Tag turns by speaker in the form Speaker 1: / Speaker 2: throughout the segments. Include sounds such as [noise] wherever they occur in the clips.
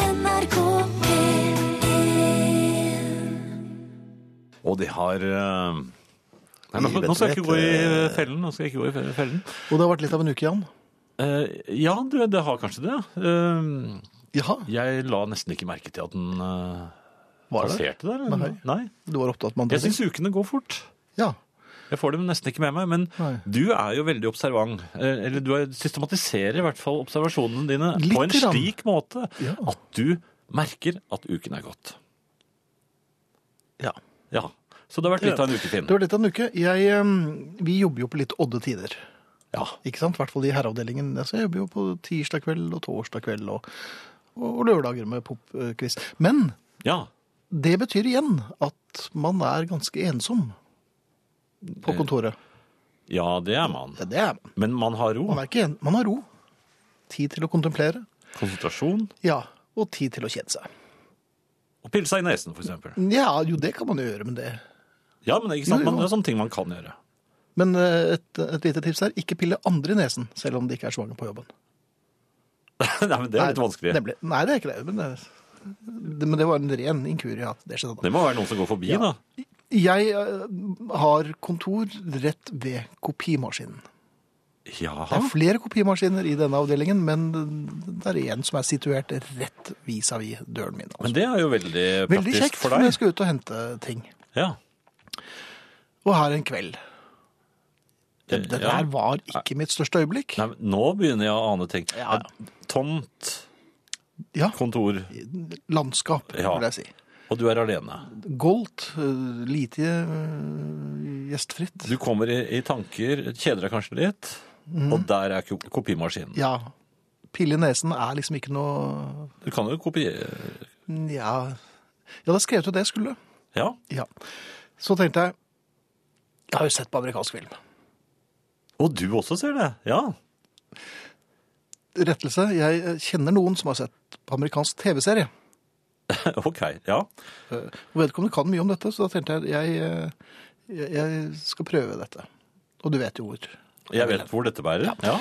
Speaker 1: NRK P1
Speaker 2: Og de har eh, Nei, nå,
Speaker 3: Livet
Speaker 2: nå skal jeg ikke
Speaker 3: vet,
Speaker 2: gå i
Speaker 3: eh,
Speaker 2: fellen. Nå skal jeg ikke gå i fe- fellen.
Speaker 3: Og det har vært litt av en uke, Jan.
Speaker 2: Eh, ja, du, det har kanskje det. ja. Eh,
Speaker 3: Ja,
Speaker 2: jeg la nesten ikke merke til at den eh,
Speaker 3: var det?
Speaker 2: passerte der. eller?
Speaker 3: Nei. Du var opptatt med andre
Speaker 2: Jeg syns ukene går fort.
Speaker 3: Ja.
Speaker 2: Jeg får dem nesten ikke med meg, men
Speaker 3: Nei.
Speaker 2: du er jo veldig observant. eh, Eller du er- systematiserer i hvert fall observasjonene dine
Speaker 3: Litt
Speaker 2: på en
Speaker 3: grann.
Speaker 2: slik måte
Speaker 3: Ja.
Speaker 2: at du merker at uken er gått.
Speaker 3: ja.
Speaker 2: Ja. Så det har vært litt av en ukefinn.
Speaker 3: Det var litt av en uke. Jeg, ehm, vi jobber jo på litt odde tider.
Speaker 2: Ja.
Speaker 3: Ikke sant? I hvert fall i herreavdelingen. Så jeg jobber jo på tirsdag kveld og torsdag kveld og, og lørdager med popquiz. Men
Speaker 2: ja.
Speaker 3: det betyr igjen at man er ganske ensom på kontoret.
Speaker 2: Ja, det er man.
Speaker 3: Ja, det er man.
Speaker 2: Men man har ro.
Speaker 3: Man er ikke en, man har ro. Tid til å kontemplere.
Speaker 2: Konsentrasjon.
Speaker 3: Ja, og tid til å kjede seg.
Speaker 2: Og pille seg i nesen, for eksempel.
Speaker 3: Ja, jo det kan man jo gjøre, men det
Speaker 2: Ja, men ikke sant?
Speaker 3: Jo, jo.
Speaker 2: Man, det er sånne ting man kan gjøre. [laughs]
Speaker 3: Men eh, et, et lite tips her, ikke pille andre i nesen, selv om de ikke er så mange på jobben.
Speaker 2: Nei, men det er litt
Speaker 3: Nei,
Speaker 2: vanskelig.
Speaker 3: Nemlig. Nei, det er ikke det. Men det, det, men det var en ren inkurie at det skjedde.
Speaker 2: Det må være noen som går forbi, da.
Speaker 3: Da. Jeg eh, har kontor rett ved kopimaskinen. Det
Speaker 2: Jaha.
Speaker 3: er flere kopimaskiner i denne avdelingen, men det er en som er situert rett vis-à-vis døren min.
Speaker 2: Men
Speaker 3: Altså.
Speaker 2: det er jo veldig
Speaker 3: Veldig
Speaker 2: praktisk
Speaker 3: kjekt,
Speaker 2: for
Speaker 3: når jeg
Speaker 2: deg.
Speaker 3: skal ut og hente ting.
Speaker 2: Ja.
Speaker 3: Og her en kveld. Det, det
Speaker 2: Eh, Ja.
Speaker 3: der var ikke mitt største øyeblikk.
Speaker 2: Nei, men nå begynner jeg å ane ting.
Speaker 3: Ja.
Speaker 2: Tomt
Speaker 3: Ja,
Speaker 2: kontor,
Speaker 3: landskap,
Speaker 2: Ja.
Speaker 3: vil jeg si.
Speaker 2: og du er alene.
Speaker 3: Goldt, øh, lite øh, gjestfritt.
Speaker 2: Du kommer i, i tanker, kjeder deg kanskje litt, og der er ko- kopimaskinen.
Speaker 3: Ja. Pille i nesen er liksom ikke noe
Speaker 2: Du kan jo kopiere
Speaker 3: Ja, ja da skrev du det jeg skulle.
Speaker 2: Ja.
Speaker 3: Ja. Så tenkte jeg Jeg har jo sett på amerikansk film.
Speaker 2: Og du også ser det. Ja. [laughs]
Speaker 3: Rettelse. Jeg eh, kjenner noen som har sett på amerikansk TV-serie.
Speaker 2: OK. Ja.
Speaker 3: Og vedkommende kan mye om dette, så da tenkte jeg jeg, eh, jeg, jeg skal prøve dette. Og du vet jo hvor.
Speaker 2: Jeg vet hvor dette bærer. Ja.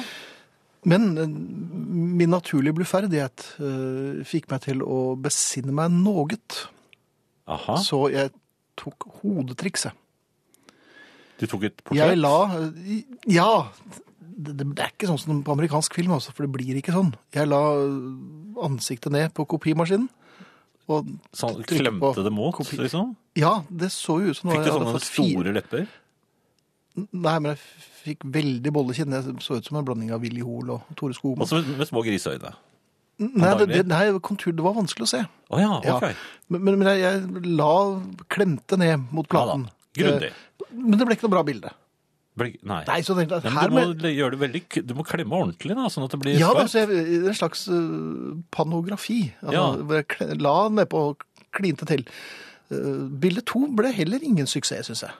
Speaker 3: Men eh, min naturlige bluferdighet eh, fikk meg til å besinne meg noget.
Speaker 2: Aha.
Speaker 3: Så jeg tok hodetrikset.
Speaker 2: Du tok et portrett?
Speaker 3: Jeg la Ja. Det, det det er ikke sånn som på amerikansk film, altså, for det blir ikke sånn. Jeg la ansiktet ned på kopimaskinen. Og
Speaker 2: Sånn,
Speaker 3: trykket
Speaker 2: klemte
Speaker 3: på
Speaker 2: det mot,
Speaker 3: kopi-
Speaker 2: liksom?
Speaker 3: Ja, det så jo ut som
Speaker 2: Fikk du
Speaker 3: jeg hadde
Speaker 2: sånne
Speaker 3: fått fire-
Speaker 2: store lepper?
Speaker 3: Nei, men jeg fikk veldig bollekinn. Jeg så ut som en blanding av Willy Hoel og Tore Skogman.
Speaker 2: Altså med, med små griseøyne.
Speaker 3: nei, det, det,
Speaker 2: antagelig.
Speaker 3: nei, kontur, det var vanskelig å se.
Speaker 2: Å ja, ok.
Speaker 3: Ja. Men, men, men jeg, jeg la Klemte ned mot platen.
Speaker 2: Ja da, grundig.
Speaker 3: Eh, Men det ble ikke noe bra bilde.
Speaker 2: Blir- Nei.
Speaker 3: Nei, så tenkte
Speaker 2: Nei,
Speaker 3: jeg
Speaker 2: men
Speaker 3: her
Speaker 2: du må
Speaker 3: med,
Speaker 2: le- gjøre det veldig k- Du må klemme ordentlig, da, sånn at det blir
Speaker 3: Ja,
Speaker 2: skarpt.
Speaker 3: altså, jeg, en slags øh, panografi. Altså,
Speaker 2: Ja.
Speaker 3: hvor jeg kle- la nedpå og klinte til. Uh, bilde to ble heller ingen suksess, syns jeg.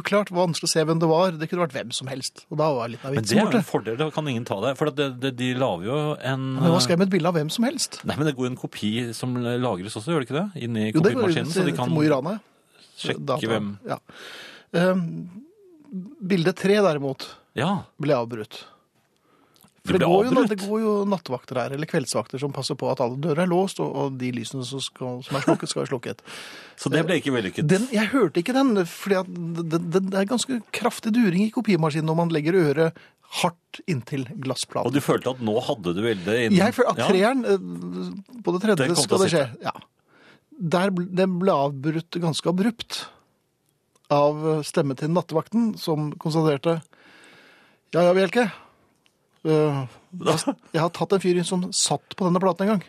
Speaker 3: Uklart, vanskelig å se hvem det var. Det kunne vært hvem som helst. Og da var litt av
Speaker 2: Men det
Speaker 3: vitsen
Speaker 2: er jo en
Speaker 3: borte.
Speaker 2: fordel, da kan ingen ta deg. For at det, det, de lager jo en
Speaker 3: Men hva skal jeg med et bilde av hvem som helst?
Speaker 2: Nei, men det går jo en kopi som lagres også, gjør det ikke det? Inni
Speaker 3: Jo, det går jo
Speaker 2: kopimaskinen, så
Speaker 3: til,
Speaker 2: de kan
Speaker 3: til Mo i Rana.
Speaker 2: sjekke
Speaker 3: Data.
Speaker 2: hvem
Speaker 3: Ja. Um, bilde tre, derimot,
Speaker 2: Ja.
Speaker 3: ble avbrutt.
Speaker 2: Du
Speaker 3: For det
Speaker 2: ble
Speaker 3: går, jo,
Speaker 2: avbrutt.
Speaker 3: det går jo nattvakter her, eller kveldsvakter, som passer på at alle dører er låst, og, og de lysene som, skal, som er slukket, skal være slukket.
Speaker 2: Så det ble ikke vellykket.
Speaker 3: Den, jeg hørte ikke den, for det, det er ganske kraftig during i kopimaskinen når man legger øret hardt inntil
Speaker 2: Og
Speaker 3: glassplaten.
Speaker 2: du følte at nå hadde du veldig innen
Speaker 3: Jeg føler at
Speaker 2: Ja.
Speaker 3: treeren, eh, på det tredje,
Speaker 2: Den kom til
Speaker 3: skal
Speaker 2: å
Speaker 3: det skje. Ja. Der ble, den ble avbrutt ganske abrupt av stemme til nattevakten, som konstaterte Ja, ja, Bjelke. eh,
Speaker 2: [laughs]
Speaker 3: jeg har tatt en fyr som satt på denne platen en gang.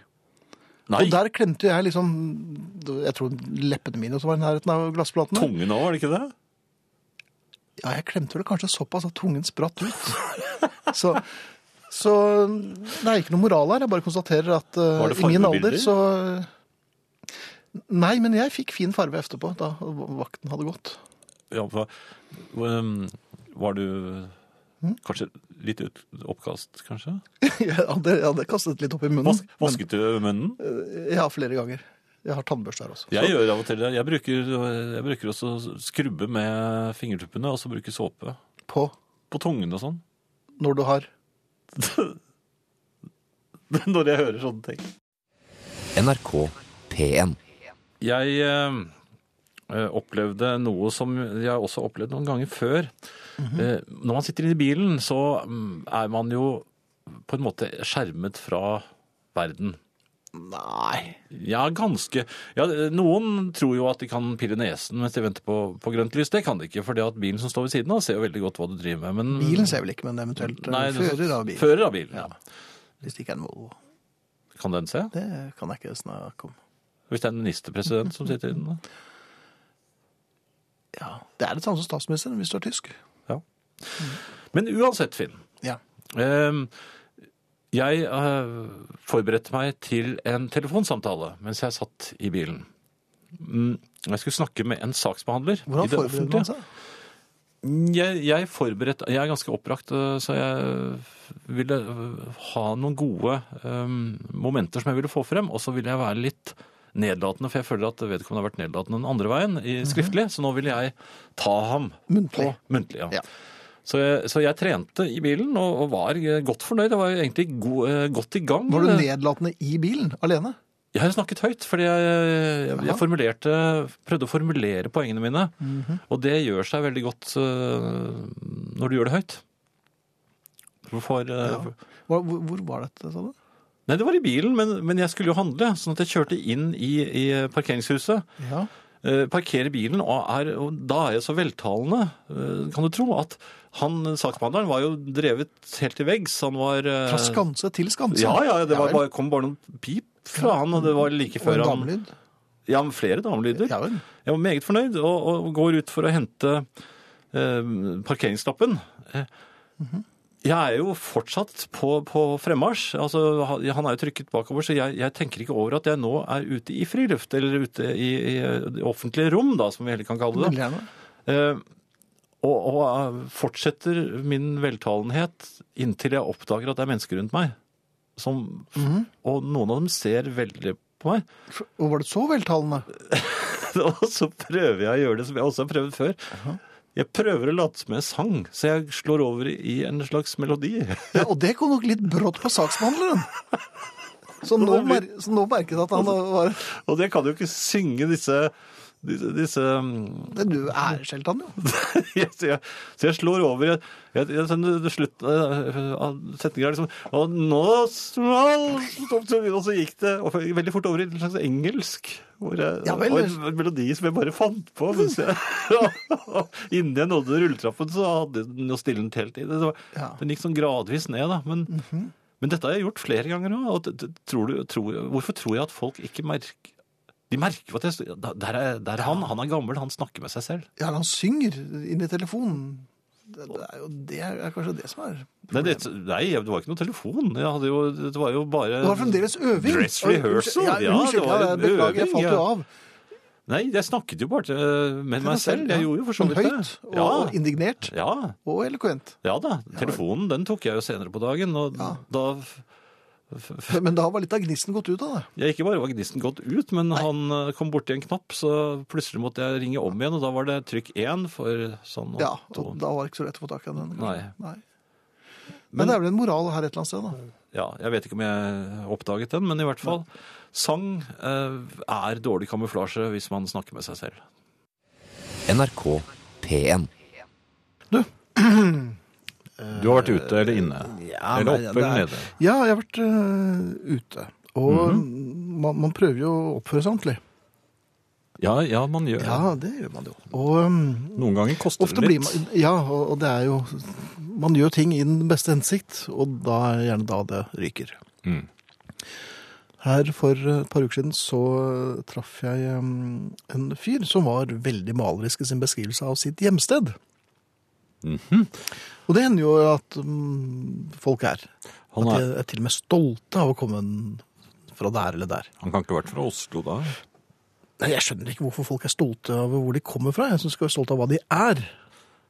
Speaker 2: Nei,
Speaker 3: Og der klemte jeg liksom Jeg tror leppene mine også var i nærheten av glassplatene.
Speaker 2: tungen òg, var det ikke det?
Speaker 3: Ja, jeg klemte vel kanskje såpass at tungen spratt ut. Så, så det er ikke noe moral her. Jeg bare konstaterer at eh,
Speaker 2: Var det
Speaker 3: i min alder
Speaker 2: fargebilder?
Speaker 3: så Nei, men jeg fikk fin farge etterpå, da vakten hadde gått. [laughs]
Speaker 2: Ja, for, um, var du kanskje litt ut, oppkast, kanskje?
Speaker 3: jeg, hadde, jeg hadde kastet litt opp i munnen.
Speaker 2: Vask, vasket du munnen?
Speaker 3: Ja, flere ganger. Jeg har tannbørste her også.
Speaker 2: Jeg gjør av og til det. Jeg bruker, jeg bruker også å skrubbe med fingertuppene, og så bruke såpe
Speaker 3: På
Speaker 2: på tungen og sånn.
Speaker 3: når du har sånn.
Speaker 2: Når jeg hører sånne ting.
Speaker 1: NRK P1.
Speaker 2: Jeg eh, opplevde noe som jeg også har opplevd noen ganger før. Eh, når man sitter inne i bilen, så mm, er man jo på en måte skjermet fra verden.
Speaker 3: Nei.
Speaker 2: Ja, ganske. Ja, noen tror jo at de kan pille nesen mens de venter på, på grønt lys. Det kan de ikke, for bilen som står ved siden av ser jo veldig godt hva du driver med. Men,
Speaker 3: Bilen ser vel ikke, men eventuelt eh,
Speaker 2: Nei, det-
Speaker 3: fører av bilen.
Speaker 2: Fører av bilen, ja.
Speaker 3: Hvis det ikke er en Volvo.
Speaker 2: Kan den se?
Speaker 3: Det kan jeg ikke snakke om.
Speaker 2: Hvis det er en ministerpresident som sitter inne.
Speaker 3: Mm. Ja, Det er det samme som statsministeren hvis du er tysk.
Speaker 2: Ja. Men uansett, Finn.
Speaker 3: Ja.
Speaker 2: Ehm, Jeg eh, forberedte meg til en telefonsamtale mens jeg satt i bilen. Mm, Jeg skulle snakke med en saksbehandler. i
Speaker 3: Hvordan
Speaker 2: det
Speaker 3: forbereder man
Speaker 2: offentlige.
Speaker 3: seg?
Speaker 2: Jeg, jeg, forberedte- jeg er ganske oppbrakt, eh, så jeg ville eh, ha noen gode eh, momenter som jeg ville få frem. Og så ville jeg være litt nedlatende, for jeg føler at vedkommende har vært nedlatende den andre veien, i skriftlig. Så nå ville jeg ta ham på
Speaker 3: Mhm. Muntlig.
Speaker 2: muntlig. Ja.
Speaker 3: Ja.
Speaker 2: Så, jeg, så jeg trente i bilen og, og var eh, godt fornøyd. Jeg var egentlig go, eh, godt i gang.
Speaker 3: Var du nedlatende i bilen alene?
Speaker 2: Jeg har snakket høyt, fordi jeg, jeg,
Speaker 3: Jaha.
Speaker 2: jeg formulerte, prøvde å formulere poengene mine.
Speaker 3: Mhm.
Speaker 2: Og det gjør seg veldig godt eh, når du gjør det høyt. Du får, eh,
Speaker 3: Ja. Hvor, hvor- hvor var dette, sa du?
Speaker 2: Nei, det var i bilen, men, men jeg skulle jo handle. Sånn at jeg kjørte inn i, i parkeringshuset.
Speaker 3: Ja.
Speaker 2: eh, parkerer bilen, og, er, og da er jeg så veltalende, eh, kan du tro, at han, eh, saksbehandleren var jo drevet helt til veggs. Han var eh,
Speaker 3: Fra skanse til skanse?
Speaker 2: Ja, ja, det var,
Speaker 3: vel.
Speaker 2: bare, kom bare noen pip fra han, og det var like
Speaker 3: Og en
Speaker 2: før han
Speaker 3: damlyd?
Speaker 2: Ja, men flere damelyder.
Speaker 3: Ja vel.
Speaker 2: Jeg var meget fornøyd, og, og går ut for å hente eh, parkeringslappen. Eh, Jeg er jo fortsatt på, på fremmarsj. Altså, han han er jo trykket bakover, så jeg, jeg tenker ikke over at jeg nå er ute i friluft, eller ute i, i det offentlige rom, da, som vi heller kan kalle det.
Speaker 3: Veldig gjerne.
Speaker 2: Eh, og, og eh, fortsetter min veltalenhet inntil jeg oppdager at det er mennesker rundt meg. Som, Og noen av dem ser veldig på meg.
Speaker 3: Og var det så veltalende?
Speaker 2: [laughs] og så prøver jeg å gjøre det som jeg også har prøvd før. Jeg prøver å late som jeg sang, så jeg slår over i en slags melodi. [laughs]
Speaker 3: Ja, og det kom nok litt brått på saksbehandleren. Så nå, mer, så nå merket jeg at han var
Speaker 2: og jeg kan jo ikke synge disse, disse, disse mm,
Speaker 3: Det Du æreskjelte han jo.
Speaker 2: [laughs] Ja, så, jeg, så jeg slår over jeg, jeg, jeg, sånn, det slutt eh, av setninger er liksom Og nå smalt opp til- Og så gikk det og veldig fort over i en slags engelsk. Hvor jeg,
Speaker 3: Ja vel.
Speaker 2: og en melodi som jeg bare fant på. Mens jeg, [laughs] og innen jeg nådde rulletrappen, så hadde den jo stilnet helt i det. Så
Speaker 3: Ja. Mhm.
Speaker 2: Den gikk sånn gradvis ned, da. Men, men dette har jeg gjort flere ganger nå. Og det- det- tror du, tror, hvorfor tror jeg at folk ikke merker De merker jo at jeg, der er, der er han. Han er gammel, han snakker med seg selv.
Speaker 3: Ja, han synger inn i telefonen. Det, det, er jo, det er kanskje det som er
Speaker 2: Nei, det, nei, det var ikke noen telefon. Jeg hadde jo, det var jo bare
Speaker 3: Det var fremdeles øving.
Speaker 2: Dress rehearsal,
Speaker 3: Ja,
Speaker 2: ja,
Speaker 3: unnskyld,
Speaker 2: det var
Speaker 3: ja,
Speaker 2: en
Speaker 3: beklager, jeg
Speaker 2: øving,
Speaker 3: falt jo
Speaker 2: ja.
Speaker 3: av.
Speaker 2: Nei, jeg snakket jo bare til, eh, med
Speaker 3: Til
Speaker 2: meg
Speaker 3: meg selv,
Speaker 2: selv. Jeg
Speaker 3: ja.
Speaker 2: gjorde jo for så
Speaker 3: Sånn
Speaker 2: vidt det.
Speaker 3: høyt og
Speaker 2: Ja,
Speaker 3: indignert
Speaker 2: ja,
Speaker 3: og eloquent.
Speaker 2: ja da. Telefonen den tok jeg jo senere på dagen. Og
Speaker 3: Ja.
Speaker 2: da
Speaker 3: Men da var litt av gnisten gått ut av det.
Speaker 2: jeg Ikke bare var gnisten gått ut, men han eh, kom borti en knapp, så plutselig måtte jeg ringe om igjen, og da var det trykk én for sånn og
Speaker 3: Ja,
Speaker 2: to.
Speaker 3: og Da var det ikke så lett å få tak i den. kanskje.
Speaker 2: Nei.
Speaker 3: Nei.
Speaker 2: Men-
Speaker 3: Men det er vel en moral her et eller annet sted, da.
Speaker 2: Ja, jeg vet ikke om jeg oppdaget den, men i hvert fall. Sang eh, er dårlig kamuflasje hvis man snakker med seg selv.
Speaker 1: NRK P1.
Speaker 4: Du har vært ute eller inne?
Speaker 3: Ja,
Speaker 4: eller
Speaker 3: nei,
Speaker 4: oppe
Speaker 3: det
Speaker 4: eller
Speaker 3: er-
Speaker 4: nede?
Speaker 3: Ja, jeg har vært øh, ute. Og
Speaker 2: Mhm.
Speaker 3: man, man prøver jo å oppføre seg ordentlig.
Speaker 2: Ja, ja man gjør det.
Speaker 3: Ja, det gjør man jo. Og mm, øhm,
Speaker 4: Noen ganger koster
Speaker 3: ofte
Speaker 4: det
Speaker 3: blir
Speaker 4: litt.
Speaker 3: man Ja, og, og det er jo Man gjør ting i den beste hensikt, og da er gjerne da det ryker.
Speaker 4: Mm.
Speaker 3: Her for et par uker siden så øh, traff jeg øhm, en fyr som var veldig malerisk i sin beskrivelse av sitt hjemsted.
Speaker 4: Mhm.
Speaker 3: Og det hender jo at øhm, folk er.
Speaker 4: Han,
Speaker 3: At
Speaker 4: er,
Speaker 3: de er til og med stolte av å komme fra der eller der.
Speaker 4: han kan ikke ha vært fra Oslo da?
Speaker 3: Nei, Jeg skjønner ikke hvorfor folk er stolte av hvor de kommer fra. Jeg synes de skal være stolte av hva de er.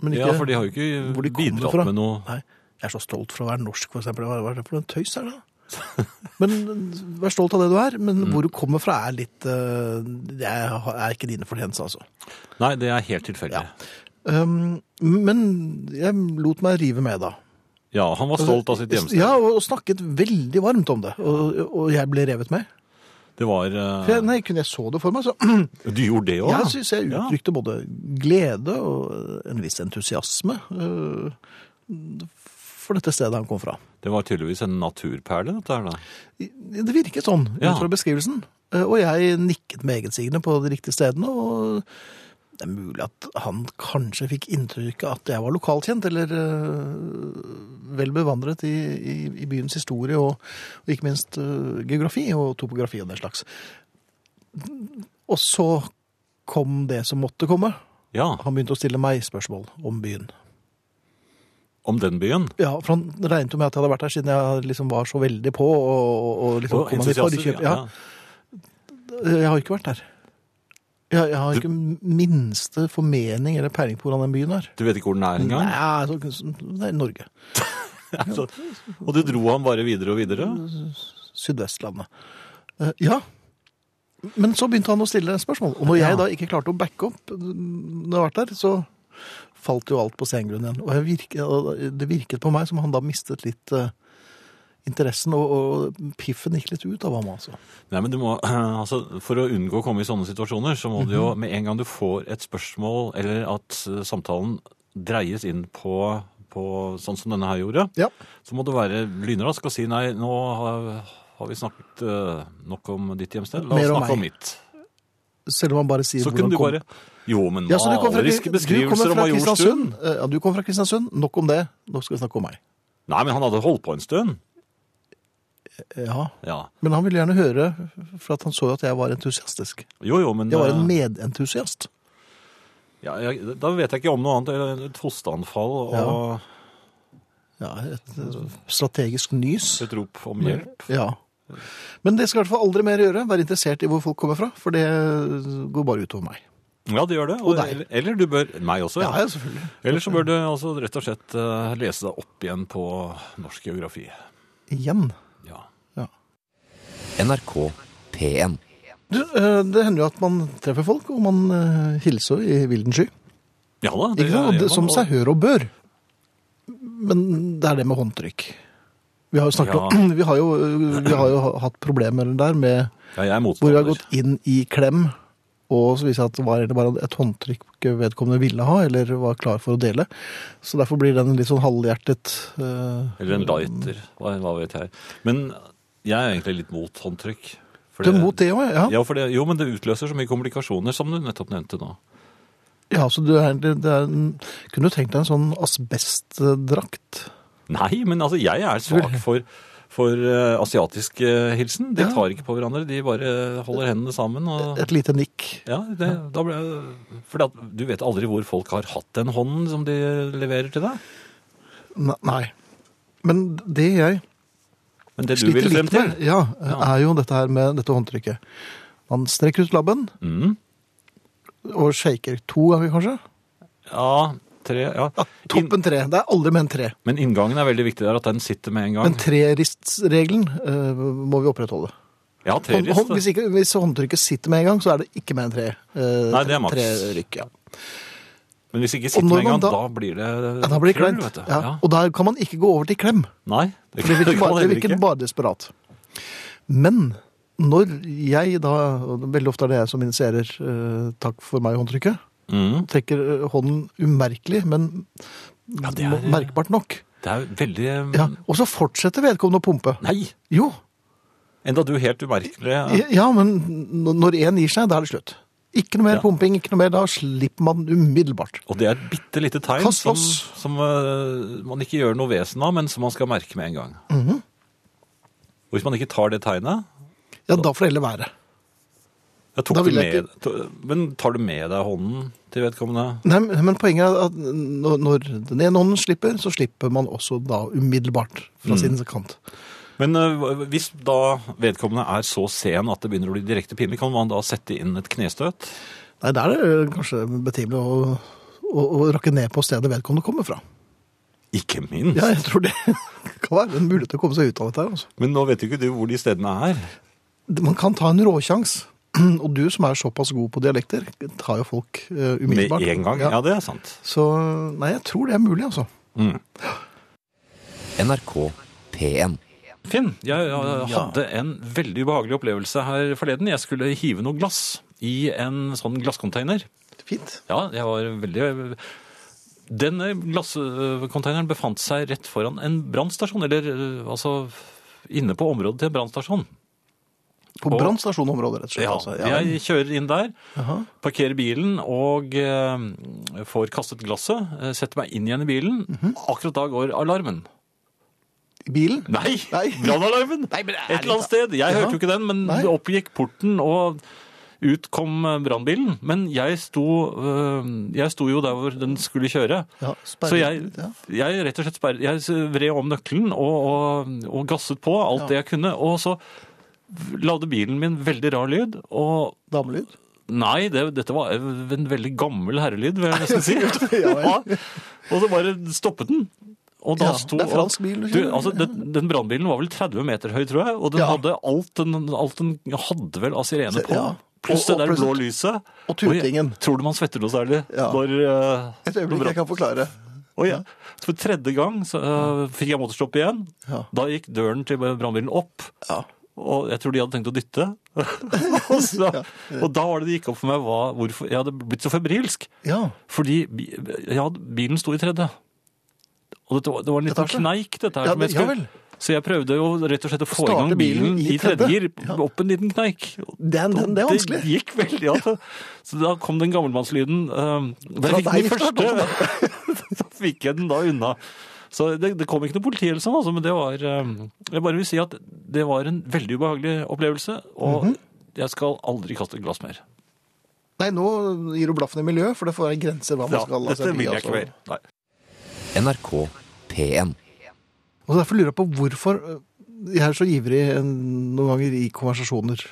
Speaker 3: Men
Speaker 4: Ja, for de har jo ikke
Speaker 3: hvor de kommer
Speaker 4: bidratt
Speaker 3: fra.
Speaker 4: med noe
Speaker 3: Nei, jeg er så stolt for å være norsk, for eksempel. Hva hva er det for noen tøys er det? [laughs] Men vær stolt av det du er, men
Speaker 4: Mm.
Speaker 3: hvor du kommer fra er litt eh, Det er er ikke dine fortjenester, altså.
Speaker 4: Nei, det er helt tilfeldig. Ja.
Speaker 3: Um, men jeg lot meg rive med, da.
Speaker 4: han
Speaker 3: Altså,
Speaker 4: var stolt av sitt hjemsted.
Speaker 3: Ja, og og snakket veldig varmt om det. Og, og jeg ble revet med.
Speaker 4: Det var
Speaker 3: For jeg,
Speaker 4: eh,
Speaker 3: nei, kunne jeg så det for meg, så [clears throat]
Speaker 4: Du gjorde det òg?
Speaker 3: Jeg syns jeg uttrykte både glede og en viss entusiasme øh, for dette stedet han kom fra.
Speaker 4: Det var tydeligvis en naturperle, dette her, da.
Speaker 3: Det virket sånn
Speaker 4: Ja.
Speaker 3: ut fra beskrivelsen. Eh, Og jeg nikket med egensigende på de riktige stedene. og det er mulig at han kanskje fikk inntrykk av at jeg var lokalkjent, eller eh, vel bevandret i, i, i byens historie, og, og ikke minst eh, geografi og topografi og den slags. Og så kom det som måtte komme.
Speaker 4: Ja.
Speaker 3: Han begynte å stille meg spørsmål om byen.
Speaker 4: Om den byen.
Speaker 3: Ja, for han regnet jo med at jeg hadde vært her siden jeg liksom var så veldig på. og, og, og liksom kom han i
Speaker 4: entusiaster,
Speaker 3: forkjøp. Ja. Eh, Jeg har ikke vært der. Jeg, jeg har
Speaker 4: Du-
Speaker 3: ikke minste formening eller peiling på hvordan den byen er.
Speaker 4: Du vet ikke hvor den er engang?
Speaker 3: Nei, så, det er Norge.
Speaker 4: Altså, og du dro han bare videre og videre?
Speaker 3: Sydvestlandet. Eh, ja. Men så begynte han å stille spørsmål. Og når jeg da ikke klarte å backe opp eh, når jeg har vært der, så falt jo alt på stengrunn igjen. Og jeg virke, og det virket på meg som han da mistet litt eh, interessen, og, og piffen gikk litt ut av ham, altså.
Speaker 4: Nei, men du må, [clears throat] altså, For å unngå å komme i sånne situasjoner, så må du
Speaker 3: Mhm.
Speaker 4: jo med en gang du får et spørsmål, eller at eh, samtalen dreies inn på, på sånn som denne her gjorde,
Speaker 3: Ja.
Speaker 4: så må du være lynrask og si nei, nå har, har vi snakket eh, nok om ditt hjemsted, la oss
Speaker 3: Mer om
Speaker 4: snakke om
Speaker 3: meg.
Speaker 4: mitt.
Speaker 3: Selv om han bare sier
Speaker 4: Så
Speaker 3: hvor
Speaker 4: kunne
Speaker 3: han
Speaker 4: du
Speaker 3: kom
Speaker 4: bare Jo, men
Speaker 3: Ja, så du kom fra,
Speaker 4: maleriske
Speaker 3: du kommer
Speaker 4: beskrivelser om
Speaker 3: fra
Speaker 4: Majorstuen.
Speaker 3: Kristiansund. Eh, Ja, du kom fra Kristiansund. Nok om det. Nå skal vi snakke om meg.
Speaker 4: Nei, men han hadde holdt på en stund.
Speaker 3: Ja,
Speaker 4: Ja.
Speaker 3: Men han ville gjerne høre, for at han så jo at jeg var entusiastisk.
Speaker 4: Jo, jo, men
Speaker 3: Jeg var en
Speaker 4: eh,
Speaker 3: medentusiast.
Speaker 4: ja, jeg, Da vet jeg ikke om noe annet enn et hosteanfall og
Speaker 3: Ja. Ja, Et eh, strategisk nys.
Speaker 4: et rop om hjelp.
Speaker 3: Ja. Men det skal i hvert fall aldri mer gjøre. Være interessert i hvor folk kommer fra, for det går bare utover meg.
Speaker 4: Ja, det gjør det.
Speaker 3: Og deg.
Speaker 4: eller, eller du bør Meg også,
Speaker 3: Ja,
Speaker 4: ja.
Speaker 3: Mm. ja, selvfølgelig.
Speaker 4: Eller så bør du altså rett og slett eh, lese deg opp igjen på norsk geografi.
Speaker 3: Igjen.
Speaker 4: Ja.
Speaker 3: Ja.
Speaker 1: NRK P1.
Speaker 3: Du, eh, det hender jo at man treffer folk, og man eh, hilser jo i vilden sky.
Speaker 4: ja da.
Speaker 3: Ikke sant?
Speaker 4: gjør
Speaker 3: Det,
Speaker 4: man,
Speaker 3: som
Speaker 4: og-
Speaker 3: seg hør og bør. Men det er det med håndtrykk. Vi har jo snakket
Speaker 4: Ja.
Speaker 3: om [clears throat] vi har jo, vi har jo hatt problemer der med
Speaker 4: Ja, jeg er
Speaker 3: hvor vi har
Speaker 4: motstander.
Speaker 3: gått inn i klem, og så viser det seg at det var egentlig bare et håndtrykk vedkommende ville ha, eller var klar for å dele. Så derfor blir den litt sånn halvhjertet eh,
Speaker 4: Eller en lighter. Hva, hva vet jeg. Men jeg er egentlig litt mot håndtrykk. for
Speaker 3: Du er mot det òg, ja?
Speaker 4: Ja, for det, jo, men det utløser så mye komplikasjoner, som du nettopp nevnte nå.
Speaker 3: ja så du er, det, det er en, Kunne du tenkt deg en sånn asbestdrakt?
Speaker 4: Nei, men altså, jeg er svak for, for eh, asiatisk eh, hilsen. De
Speaker 3: Ja. Eh,
Speaker 4: tar ikke på hverandre, de bare holder hendene sammen. Og,
Speaker 3: Et lite nikk?
Speaker 4: ja, det, da ble, fordi at du vet aldri hvor folk har hatt den hånden som de leverer til deg.
Speaker 3: Ne- Nei. Men det jeg
Speaker 4: Men det du
Speaker 3: sliter
Speaker 4: vil frem
Speaker 3: litt
Speaker 4: til
Speaker 3: med, ja, er jo dette her med dette håndtrykket. Man strekker ut labben
Speaker 4: mm,
Speaker 3: og shaker to ganger, kanskje.
Speaker 4: Ja, tre ja. Inn-
Speaker 3: Toppen tre. Det er aldri med en tre.
Speaker 4: men inngangen er veldig viktig der, at den sitter med en gang.
Speaker 3: Men treristregelen eh, må vi opprettholde.
Speaker 4: ja, tre
Speaker 3: Hånd- hånd-
Speaker 4: rist.
Speaker 3: hvis, ikke, hvis håndtrykket sitter med en gang, så er det ikke med en tre. eh,
Speaker 4: Nei, det er maks.
Speaker 3: Trerykk, ja.
Speaker 4: Men hvis ikke
Speaker 3: Og
Speaker 4: sitter
Speaker 3: når
Speaker 4: med en gang,
Speaker 3: man da-
Speaker 4: da, blir det
Speaker 3: ja. Da blir det
Speaker 4: krøll,
Speaker 3: kleint.
Speaker 4: vet du.
Speaker 3: Ja.
Speaker 4: Ja.
Speaker 3: Og der kan man ikke gå over til klem.
Speaker 4: Nei, det, [laughs]
Speaker 3: Det virker,
Speaker 4: kan man
Speaker 3: bare, det
Speaker 4: heller
Speaker 3: virker
Speaker 4: ikke.
Speaker 3: bare desperat. Men når jeg da, og veldig ofte er det jeg som initierer eh, 'takk for meg'-håndtrykket,
Speaker 4: Mm.
Speaker 3: trekker eh, hånden umerkelig, men
Speaker 4: det er-
Speaker 3: merkbart nok.
Speaker 4: Det er veldig mm,
Speaker 3: Ja, og så fortsetter vedkommende å pumpe.
Speaker 4: Nei!
Speaker 3: Jo,
Speaker 4: Enda du helt umerkelig eh,
Speaker 3: ja, men n- når én gir seg, da er det slutt. Ikke noe mer
Speaker 4: Ja.
Speaker 3: pumping, ikke noe mer. Da slipper man umiddelbart.
Speaker 4: Og det er et bitte lite tegn
Speaker 3: Kast
Speaker 4: som,
Speaker 3: loss.
Speaker 4: som eh, man ikke gjør noe vesen av, men som man skal merke med en gang.
Speaker 3: Mhm.
Speaker 4: Og hvis man ikke tar det tegnet
Speaker 3: Ja, da får det heller være.
Speaker 4: jeg tok
Speaker 3: Da
Speaker 4: du
Speaker 3: vil jeg
Speaker 4: med, to- Men tar du med deg hånden til vedkommende?
Speaker 3: Nei, men men poenget er at når, når den ene hånden slipper, så slipper man også da umiddelbart fra
Speaker 4: Mm.
Speaker 3: sin kant.
Speaker 4: Men eh, hvis da vedkommende er så sen at det begynner å bli direkte pinlig, kan man da sette inn et knestøt?
Speaker 3: Nei, der er det eh, kanskje betimelig å, å, å rakke ned på stedet vedkommende kommer fra.
Speaker 4: Ikke minst.
Speaker 3: Ja, jeg tror det [laughs] kan være en mulighet til å komme seg ut av dette. her, Altså.
Speaker 4: Men nå vet jo ikke du hvor de stedene er.
Speaker 3: Man kan ta en råsjans, [clears throat] og du som er såpass god på dialekter, tar jo folk eh,
Speaker 4: Med
Speaker 3: umiddelbart.
Speaker 4: en gang. Ja, det er sant.
Speaker 3: Så nei, jeg tror det er mulig, altså.
Speaker 4: Mm.
Speaker 1: NRK P1.
Speaker 2: Finn, jeg eh, hadde en veldig ubehagelig opplevelse her forleden. Jeg skulle hive noe glass i en sånn glasscontainer.
Speaker 3: Fint.
Speaker 2: Ja, jeg var veldig Denne glasscontaineren befant seg rett foran en brannstasjon, eller eh, altså inne på området til en brannstasjon.
Speaker 3: På
Speaker 2: Og-
Speaker 3: brannstasjonområdet, rett og slett.
Speaker 2: Ja,
Speaker 3: altså.
Speaker 2: jeg kjører inn der,
Speaker 3: Jaha.
Speaker 2: parkerer bilen og eh, får kastet glasset, eh, setter meg inn igjen i bilen. Akkurat da går alarmen.
Speaker 3: I bilen?
Speaker 2: Nei!
Speaker 3: Nei.
Speaker 2: [laughs] Brannalarmen!
Speaker 3: Nei, men det er
Speaker 2: Et eller annet sted. Jeg hørte jo ikke den, men
Speaker 3: Nei.
Speaker 2: det oppgikk porten, og ut kom eh, brannbilen. Men jeg sto, øh, jeg sto jo der hvor den skulle kjøre.
Speaker 3: Ja,
Speaker 2: Så jeg,
Speaker 3: sperret, ja.
Speaker 2: jeg rett og slett sperret, jeg vred om nøkkelen og, og, og gasset på alt det jeg kunne. Og så lagde bilen min veldig rar lyd, og
Speaker 3: Damelyd?
Speaker 2: Nei, det, dette var en veldig gammel herrelyd, vil jeg nesten si.
Speaker 3: [laughs] Ja vel.
Speaker 2: Ja, og så bare stoppet den. Og da
Speaker 3: Ja,
Speaker 2: sto,
Speaker 3: det er fransk bil,
Speaker 2: Du,
Speaker 3: ikke sant?
Speaker 2: altså, den, den brannbilen var vel 30 meter høy, tror jeg, og den
Speaker 3: Ja.
Speaker 2: hadde alt den, alt den hadde vel av sirene
Speaker 3: Se-
Speaker 2: på.
Speaker 3: ja.
Speaker 2: Pluss
Speaker 3: Og-
Speaker 2: det der
Speaker 3: og-
Speaker 2: blå lyset.
Speaker 3: og tutingen.
Speaker 2: jeg- Tror du man svetter noe særlig?
Speaker 3: Ja.
Speaker 2: Når, eh,
Speaker 3: Et øyeblikk,
Speaker 2: når
Speaker 3: jeg kan forklare.
Speaker 2: og jeg, for tredje gang så, eh, fikk jeg motorstopp igjen.
Speaker 3: Ja.
Speaker 2: Da gikk døren til brannbilen opp.
Speaker 3: Ja.
Speaker 2: Og jeg tror de hadde tenkt å dytte. [laughs] og, så, og da var det det gikk opp for meg hva, hvorfor jeg hadde blitt så febrilsk.
Speaker 3: ja.
Speaker 2: Fordi bi- jeg hadde, bilen sto i tredje. Og dette, var- det var en liten
Speaker 3: Etasje?
Speaker 2: kneik, dette her.
Speaker 3: Ja,
Speaker 2: som jeg
Speaker 3: ja
Speaker 2: skulle-
Speaker 3: vel.
Speaker 2: Så jeg prøvde jo rett og slett å få i
Speaker 3: Starte
Speaker 2: gang bilen i tredje gir,
Speaker 3: Ja.
Speaker 2: opp en liten kneik.
Speaker 3: Den, den, det er vanskelig.
Speaker 2: Det gikk veldig, ja. Så- Så da kom den gammelmannslyden. eh, Da
Speaker 3: Fra
Speaker 2: jeg fikk den i
Speaker 3: deg,
Speaker 2: [laughs] første. Da fikk jeg den da unna. Så det, det kom ikke noe politi eller sånn, altså, men det var eh, Jeg bare vil si at det var en veldig ubehagelig opplevelse, og
Speaker 3: Mhm.
Speaker 2: jeg skal aldri kaste et glass mer.
Speaker 3: Nei, nå gir du blaffen i miljøet, for det får være grenser hva man
Speaker 2: Ja,
Speaker 3: skal la
Speaker 2: dette
Speaker 3: seg bli,
Speaker 2: vil jeg
Speaker 3: altså.
Speaker 2: ikke mer. Nei.
Speaker 1: NRK P1.
Speaker 3: Og derfor lurer jeg på hvorfor øh, jeg er så ivrig en- noen ganger i konversasjoner.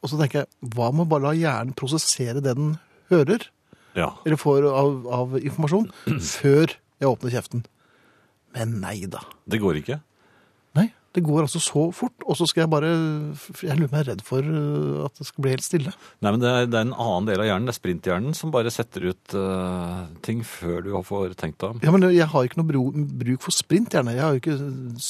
Speaker 3: Og så tenker jeg, hva med å bare la hjernen prosessere det den hører,
Speaker 4: Ja.
Speaker 3: eller får av, av informasjon,
Speaker 4: [clears throat]
Speaker 3: før jeg åpner kjeften? Men nei da.
Speaker 4: Det går ikke.
Speaker 3: Nei, det går altså så fort, og så skal jeg bare f- Jeg lurer meg redd for øh, at det skal bli helt stille.
Speaker 4: Nei, men det er, det er en annen del av hjernen, det er sprinthjernen, som bare setter ut eh, ting før du har får tenkt deg om.
Speaker 3: Ja, men jeg har ikke noe bro, bruk for sprint, gjerne. Jeg har jo ikke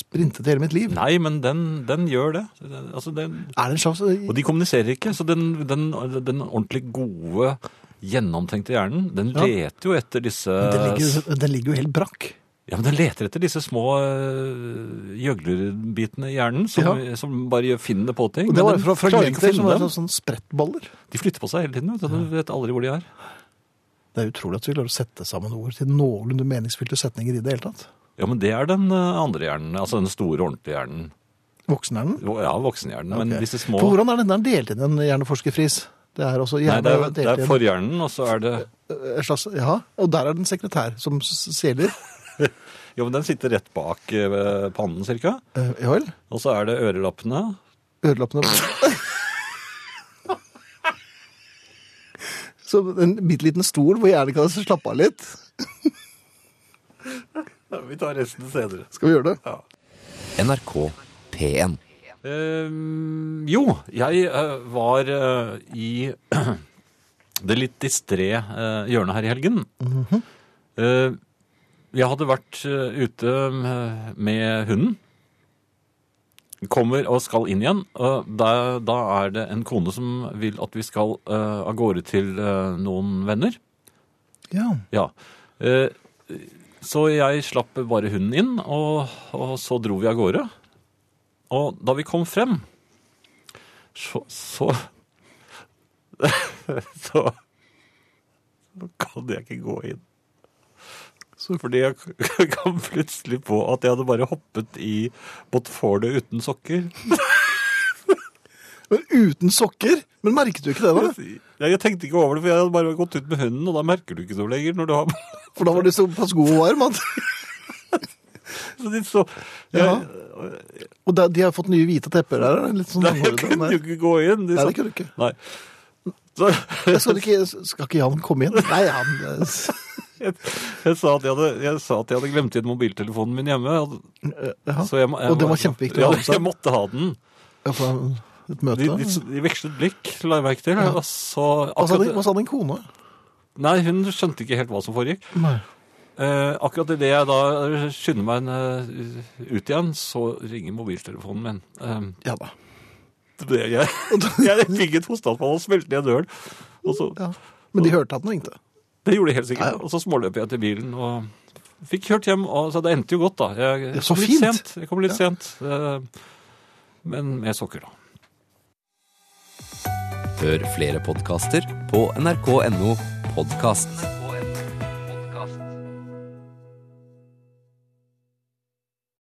Speaker 3: sprintet hele mitt liv.
Speaker 4: Nei, men den, den gjør det. Altså, den,
Speaker 3: Er det en slags øh,
Speaker 4: og de kommuniserer ikke, så den, den, den ordentlig gode, gjennomtenkte hjernen, den
Speaker 3: Ja.
Speaker 4: leter jo etter disse
Speaker 3: den,
Speaker 4: øh,
Speaker 3: ligger, jo- den ligger jo helt brakk.
Speaker 4: Ja, men den leter etter disse små øh, gjøglerbitene i hjernen, som,
Speaker 3: Ja.
Speaker 4: som bare gjør- finner på ting.
Speaker 3: Og det
Speaker 4: men
Speaker 3: var
Speaker 4: den
Speaker 3: fra
Speaker 4: klarer ikke å
Speaker 3: fragmenter
Speaker 4: finne
Speaker 3: som var
Speaker 4: dem.
Speaker 3: sånn, sånn sprettballer.
Speaker 4: De flytter på seg hele tiden, vet du. Du vet aldri hvor de er.
Speaker 3: Det er utrolig at vi klarer å sette sammen ord til noenlunde meningsfylte setninger i det hele tatt.
Speaker 4: Ja, men det er den øh, andre hjernen, altså den store, ordentlige hjernen.
Speaker 3: Voksenhjernen.
Speaker 4: Jo, Ja, voksenhjernen, men
Speaker 3: Ok.
Speaker 4: disse små...
Speaker 3: For hvordan er den der delt inn i en hjerneforskerfris? Det er også
Speaker 4: Nei,
Speaker 3: hjerne
Speaker 4: det er, det
Speaker 3: delt
Speaker 4: er
Speaker 3: inn
Speaker 4: forhjernen, og så er det...
Speaker 3: en slags, Ja, og der er det en sekretær som s- seler.
Speaker 4: Jo, men den sitter rett bak øh, pannen, cirka.
Speaker 3: Eh, Ja vel?
Speaker 4: Og så er det ørelappene.
Speaker 3: Ørelappene [laughs] Så en bitte liten stol hvor hjernen kan slappe av litt.
Speaker 4: Vi tar resten senere.
Speaker 3: Skal vi gjøre det?
Speaker 1: NRK P1.
Speaker 4: Ehm, jo, jeg eh, var eh, i [clears throat] det litt distré eh, hjørnet her i helgen. Eh, jeg hadde vært eh, ute eh, med hunden. Kommer og skal inn igjen. og da, da er det en kone som vil at vi skal eh, av gårde til eh, noen venner.
Speaker 3: Ja.
Speaker 4: Ja. Eh, Så jeg slapp bare hunden inn, og, og så dro vi av gårde. Og da vi kom frem, så Så, [laughs] så, så kan jeg ikke gå inn. Fordi jeg [laughs] kom plutselig på at jeg hadde bare hoppet i båtfålet uten sokker.
Speaker 3: Men uten sokker? Men merket du ikke det, da?
Speaker 4: Jeg, jeg tenkte ikke over det, for jeg hadde bare gått ut med hunden, og da merker du ikke noe lenger. når du har [laughs]
Speaker 3: For da var du såpass god og varm. at-
Speaker 4: Så de så,
Speaker 3: Ja.
Speaker 4: jeg,
Speaker 3: Og da, de har fått nye hvite tepper der? eller? Litt sånn
Speaker 4: Nei, jeg
Speaker 3: langhårete,
Speaker 4: kunne
Speaker 3: nei.
Speaker 4: jo ikke gå inn. De
Speaker 3: Nei, det
Speaker 4: sa-
Speaker 3: kunne du ikke.
Speaker 4: Nei. Så [laughs]
Speaker 3: Jeg skal, ikke. skal ikke han komme inn? Nei, han
Speaker 4: [laughs]
Speaker 3: eh,
Speaker 4: jeg, jeg, sa at jeg, hadde, jeg sa at jeg hadde glemt igjen mobiltelefonen min hjemme. og-
Speaker 3: ja.
Speaker 4: Så jeg, må- jeg,
Speaker 3: Og det var
Speaker 4: må-
Speaker 3: kjempeviktig å
Speaker 4: Ja,
Speaker 3: ha med seg.
Speaker 4: jeg måtte ha den.
Speaker 3: Altså, Et møte?
Speaker 4: De, de, de vekslet blikk, la jeg merke til. Og så
Speaker 3: Hva sa din-
Speaker 4: sånn akkurat,
Speaker 3: hva sa din kone?
Speaker 4: nei, hun skjønte ikke helt hva som foregikk.
Speaker 3: Nei.
Speaker 4: Eh, akkurat idet jeg da skynder meg eh, ut igjen, så ringer mobiltelefonen min. Eh,
Speaker 3: Ja da.
Speaker 4: det, jeg, [laughs] jeg fikk et hosteanfall og smelte ned døren. Og så,
Speaker 3: Ja. Men de hørte at den ringte.
Speaker 4: det gjorde jeg helt
Speaker 3: Ja,
Speaker 4: sikkert.
Speaker 3: ja.
Speaker 4: Og så småløp jeg til bilen og fikk kjørt hjem. Og, så det endte jo godt, da. Jeg,
Speaker 3: Ja,
Speaker 4: jeg
Speaker 3: så
Speaker 4: kom litt
Speaker 3: fint.
Speaker 4: sent. Jeg kom litt sent. eh, men med sokker, da.
Speaker 1: Hør flere podkaster på nrk.no podkast.